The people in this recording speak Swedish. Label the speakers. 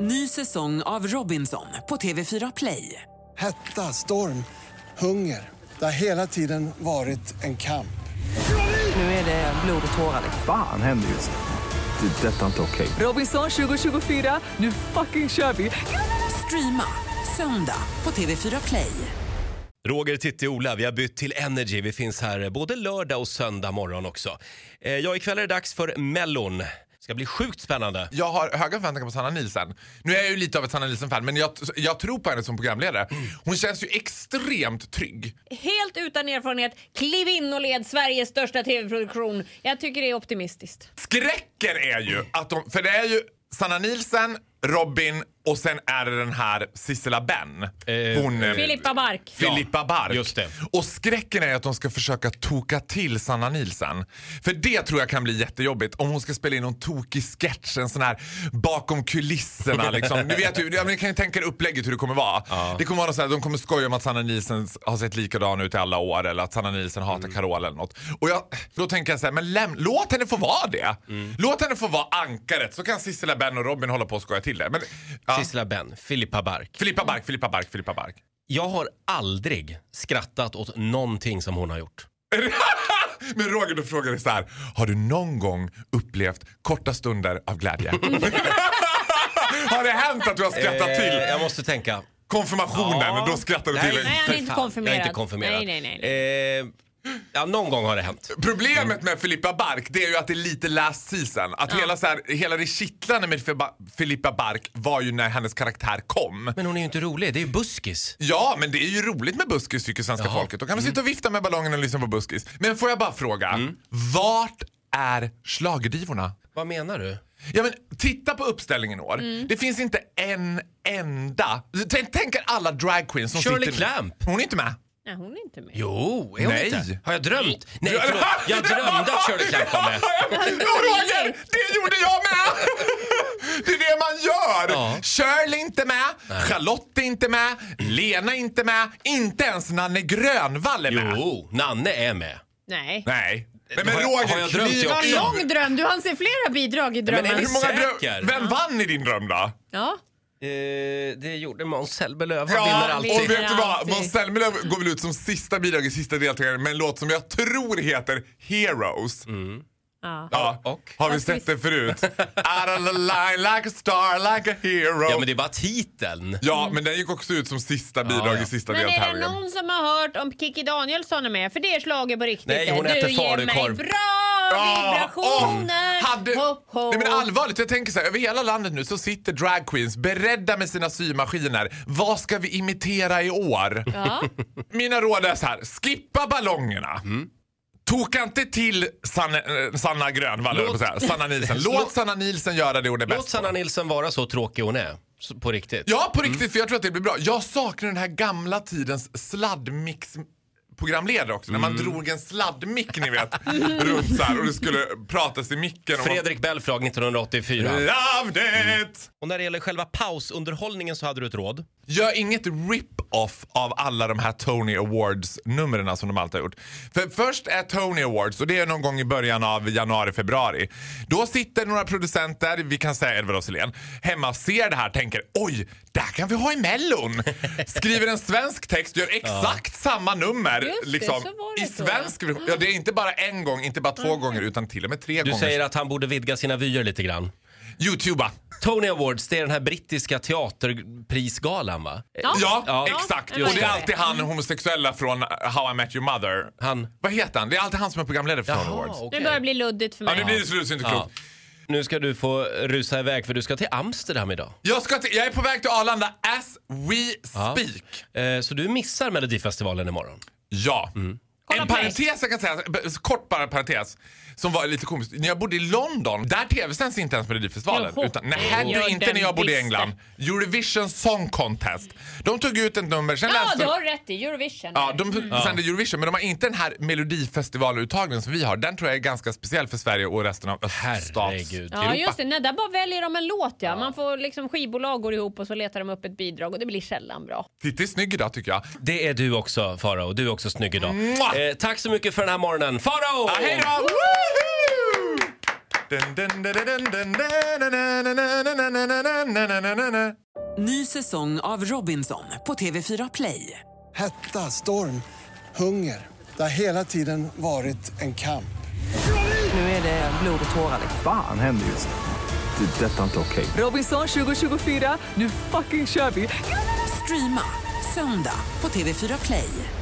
Speaker 1: Ny säsong av Robinson på TV4 Play.
Speaker 2: Hetta, storm, hunger. Det har hela tiden varit en kamp.
Speaker 1: Nu är det blod och tårar. liksom.
Speaker 3: Fan händer just nu. Det. är Detta är inte okej.
Speaker 1: Robinson 2024, nu fucking kör vi! Streama söndag på TV4 Play.
Speaker 4: Roger, Titti, Ola, vi har bytt till Energy. Vi finns här både lördag och söndag morgon också. Eh, ja, ikväll är det dags för Mellon. Det ska bli sjukt spännande.
Speaker 5: Jag har höga förväntningar på Sanna Nielsen. Nu är jag ju lite av ett Sanna Nielsen-fan, men jag, jag tror på henne som programledare. Hon känns ju extremt trygg.
Speaker 6: Helt utan erfarenhet, kliv in och led Sveriges största tv-produktion. Jag tycker det är optimistiskt.
Speaker 5: Skräcken är ju att de... För det är ju Sanna Nielsen, Robin och sen är det den här Sissela Benn. Hon... eh,
Speaker 6: Filippa Bark.
Speaker 5: Filippa Bark.
Speaker 4: just det.
Speaker 5: Och skräcken är att de ska försöka toka till Sanna Nilsson. För det tror jag kan bli jättejobbigt om hon ska spela in någon tokig sketch, en sån här bakom kulisserna liksom. Ni vet ju, ja, men ni kan ju tänka er upplägget hur det kommer vara. Det kommer vara något så här, de kommer skoja om att Sanna Nilsson har sett likadan ut i alla år eller att Sanna Nilsson hatar
Speaker 4: Mm.
Speaker 5: Carola eller något. Och jag, då tänker jag så här, men läm, låt henne få vara det.
Speaker 4: Mm.
Speaker 5: Låt henne få vara ankaret så kan Sissela Benn och Robin hålla på och skoja till det. Men, ja.
Speaker 4: Sissela Benn, Filippa Bark.
Speaker 5: Filippa Bark, Filippa Bark, Filippa Bark.
Speaker 4: Jag har aldrig skrattat åt någonting som hon har gjort.
Speaker 5: Men Roger, då frågar jag så här. Har du någon gång upplevt korta stunder av glädje? har det hänt att du har skrattat
Speaker 4: Eh,
Speaker 5: till
Speaker 4: Jag måste tänka.
Speaker 5: konförmationen?
Speaker 4: Ja.
Speaker 5: Då skrattar du
Speaker 4: Nej,
Speaker 5: till. en-
Speaker 6: Nej, han är
Speaker 4: för
Speaker 6: inte
Speaker 4: fan.
Speaker 6: konfirmerad.
Speaker 4: Jag är inte konfirmerad.
Speaker 6: Nej, nej,
Speaker 4: Eh, ja, någon gång har det hänt.
Speaker 5: Problemet med Filippa Bark det är ju att det är lite last season. Att hela, så här, hela det kittlande med Filippa- Filippa Bark var ju när hennes karaktär kom.
Speaker 4: Men hon är ju inte rolig, det är ju buskis.
Speaker 5: Ja, men det är ju roligt med buskis tycker svenska folket. Då kan man sitta och
Speaker 4: Mm.
Speaker 5: vifta med ballongen och lyssna på buskis. Men får jag bara fråga, vart är schlagerdivorna?
Speaker 4: Vad menar du?
Speaker 5: Ja, men titta på uppställningen i år. Det finns inte en enda. Tänk, tänk er alla drag queens som
Speaker 4: Shirley
Speaker 5: sitter...
Speaker 4: Clamp.
Speaker 5: Hon är inte med.
Speaker 6: Nej, hon är inte med.
Speaker 4: Jo, är hon
Speaker 5: Nej.
Speaker 4: inte? Har jag drömt? Nej, förlåt. Jag drömde att Shirley Clamp var med.
Speaker 5: Jo, Roger! Det gjorde jag med! Det är det man gör!
Speaker 4: Ja.
Speaker 5: Shirley är inte med, Charlotte är inte med, Lena är inte med, inte ens Nanne Grönvall är med.
Speaker 4: Jo, Nanne är med.
Speaker 6: Nej.
Speaker 5: Nej. Men, men
Speaker 4: Har-
Speaker 5: Roger,
Speaker 4: har jag drömt det
Speaker 5: kliv
Speaker 4: också?
Speaker 5: in.
Speaker 6: Lång dröm, du hann se flera bidrag i drömmen.
Speaker 4: Men är
Speaker 5: Hur många
Speaker 4: Säker?
Speaker 5: dröm... Vem vann i din dröm då?
Speaker 6: Ja.
Speaker 4: Eh, det gjorde Måns Zelmerlöw. Han vinner
Speaker 5: Ja,
Speaker 4: alltid.
Speaker 5: och vet du vad?
Speaker 6: alltid.
Speaker 5: Måns Zelmerlöw går väl ut som sista bidrag i sista deltagaren med en låt som jag tror heter Heroes.
Speaker 6: Ja.
Speaker 5: Ja.
Speaker 4: Mm. Och?
Speaker 5: Har vi sett det förut? Out of the line like a star, like a hero.
Speaker 4: Ja, men det är bara titeln.
Speaker 5: den gick också ut som sista bidrag
Speaker 4: Ja, ja.
Speaker 5: i sista
Speaker 6: Men är det
Speaker 5: deltävlingen.
Speaker 6: någon som har hört om Kikki Danielsson är med? För det är slaget på riktigt.
Speaker 4: Nej, hon
Speaker 6: du
Speaker 4: äter
Speaker 6: ger mig
Speaker 4: falukorv.
Speaker 6: bra
Speaker 5: Ja, om
Speaker 6: vibrationer.
Speaker 5: hade,
Speaker 6: Ho, ho.
Speaker 5: nej men allvarligt, jag tänker så här, över hela landet nu så sitter drag queens beredda med sina symaskiner. Vad ska vi imitera i år?
Speaker 6: Ja.
Speaker 5: Mina råd är så här, skippa ballongerna. Toka inte till Sanne, eh, Sanna Grönvall, höll jag på att säga. Sanna Nilsen. Låt
Speaker 4: Låt-
Speaker 5: Sanna Nilsen göra det hon är
Speaker 4: Låt
Speaker 5: bäst på.
Speaker 4: Sanna Nilsson vara så tråkig hon är. Så- På riktigt.
Speaker 5: Ja, på riktigt, för jag tror att det blir bra. Jag saknar den här gamla tidens sladdmix programledare också, när man drog en sladdmick ni vet, runt så här och det skulle pratas i micken. Och
Speaker 4: Fredrik Belfrage 1984.
Speaker 5: man, Loved it!
Speaker 4: Och när det gäller själva pausunderhållningen så hade du ett råd.
Speaker 5: Gör inget rip-off av alla de här Tony Awards-numren som de alltid har gjort. För först är Tony Awards, och det är någon gång i början av januari, februari. Då sitter några producenter, vi kan säga Edward och Selén, hemma och ser det här tänker oj, där kan vi ha i Mellon. Skriver en svensk text, gör exakt samma nummer.
Speaker 6: Just det,
Speaker 5: liksom,
Speaker 6: så var det
Speaker 5: I
Speaker 6: så.
Speaker 5: svensk version. Ja, det är inte bara en gång, inte bara två gånger, utan till och med tre
Speaker 4: Du
Speaker 5: gånger.
Speaker 4: säger att han borde vidga sina vyer lite grann.
Speaker 5: Youtuba.
Speaker 4: Tony Awards, det är den här brittiska teaterprisgalan va?
Speaker 6: Ja.
Speaker 5: Ja,
Speaker 4: Ja,
Speaker 5: exakt.
Speaker 6: just
Speaker 5: Och det är
Speaker 6: det. Mm.
Speaker 5: alltid han homosexuella från How I Met Your Mother.
Speaker 4: Han-
Speaker 5: Vad heter han? Det är alltid han som är programledare för Tony Awards.
Speaker 6: Nu börjar det bli luddigt för
Speaker 5: Ja,
Speaker 6: mig.
Speaker 5: nu blir det slut så inte klokt.
Speaker 4: Ja. Nu ska du få rusa iväg för du ska till Amsterdam idag.
Speaker 5: Jag, ska till, jag är på väg till Arlanda as we
Speaker 4: Ja.
Speaker 5: speak.
Speaker 4: Eh, så du missar Melodifestivalen imorgon.
Speaker 5: Ja.
Speaker 4: Mm.
Speaker 6: Kolla
Speaker 5: En
Speaker 6: på
Speaker 5: parentes jag kan säga, b- kort bara en parentes, som var lite komiskt. När jag bodde i London, där tv-sänds inte ens Melodifestivalen.
Speaker 6: Joho.
Speaker 5: Utan, nej,
Speaker 6: Gör
Speaker 5: du, inte
Speaker 6: den
Speaker 5: när jag bodde i
Speaker 6: visst.
Speaker 5: England. Eurovision Song Contest. De tog ut ett nummer, sen
Speaker 6: Ja,
Speaker 5: läste
Speaker 6: du
Speaker 5: de-
Speaker 6: har rätt i. Eurovision.
Speaker 5: Ja, de sänder Eurovision, men de har inte den här melodifestivaluttagningen som vi har. Den tror jag är ganska speciell för Sverige och resten av
Speaker 4: Herregud.
Speaker 6: Ja,
Speaker 5: öststatseuropa.
Speaker 6: just det. Nej, där bara väljer de en låt ja. Man får liksom skivbolag går ihop och så letar de upp ett bidrag och det blir sällan bra.
Speaker 5: Titti är snygg idag tycker jag.
Speaker 4: Det är du också Farao, du är också snygg idag.
Speaker 5: Mwah!
Speaker 4: Eh, tack så mycket för den här morgonen. Farao!
Speaker 5: Ah, hej då!
Speaker 1: Ny säsong av Robinson på TV4 Play.
Speaker 2: Hetta, storm, hunger. Det har hela tiden varit en kamp.
Speaker 1: Nu är det blod och tårar. liksom.
Speaker 3: Fan händer just det. Det är detta inte okej.
Speaker 1: Robinson 2024, nu fucking kör vi! Streama söndag på TV4 Play.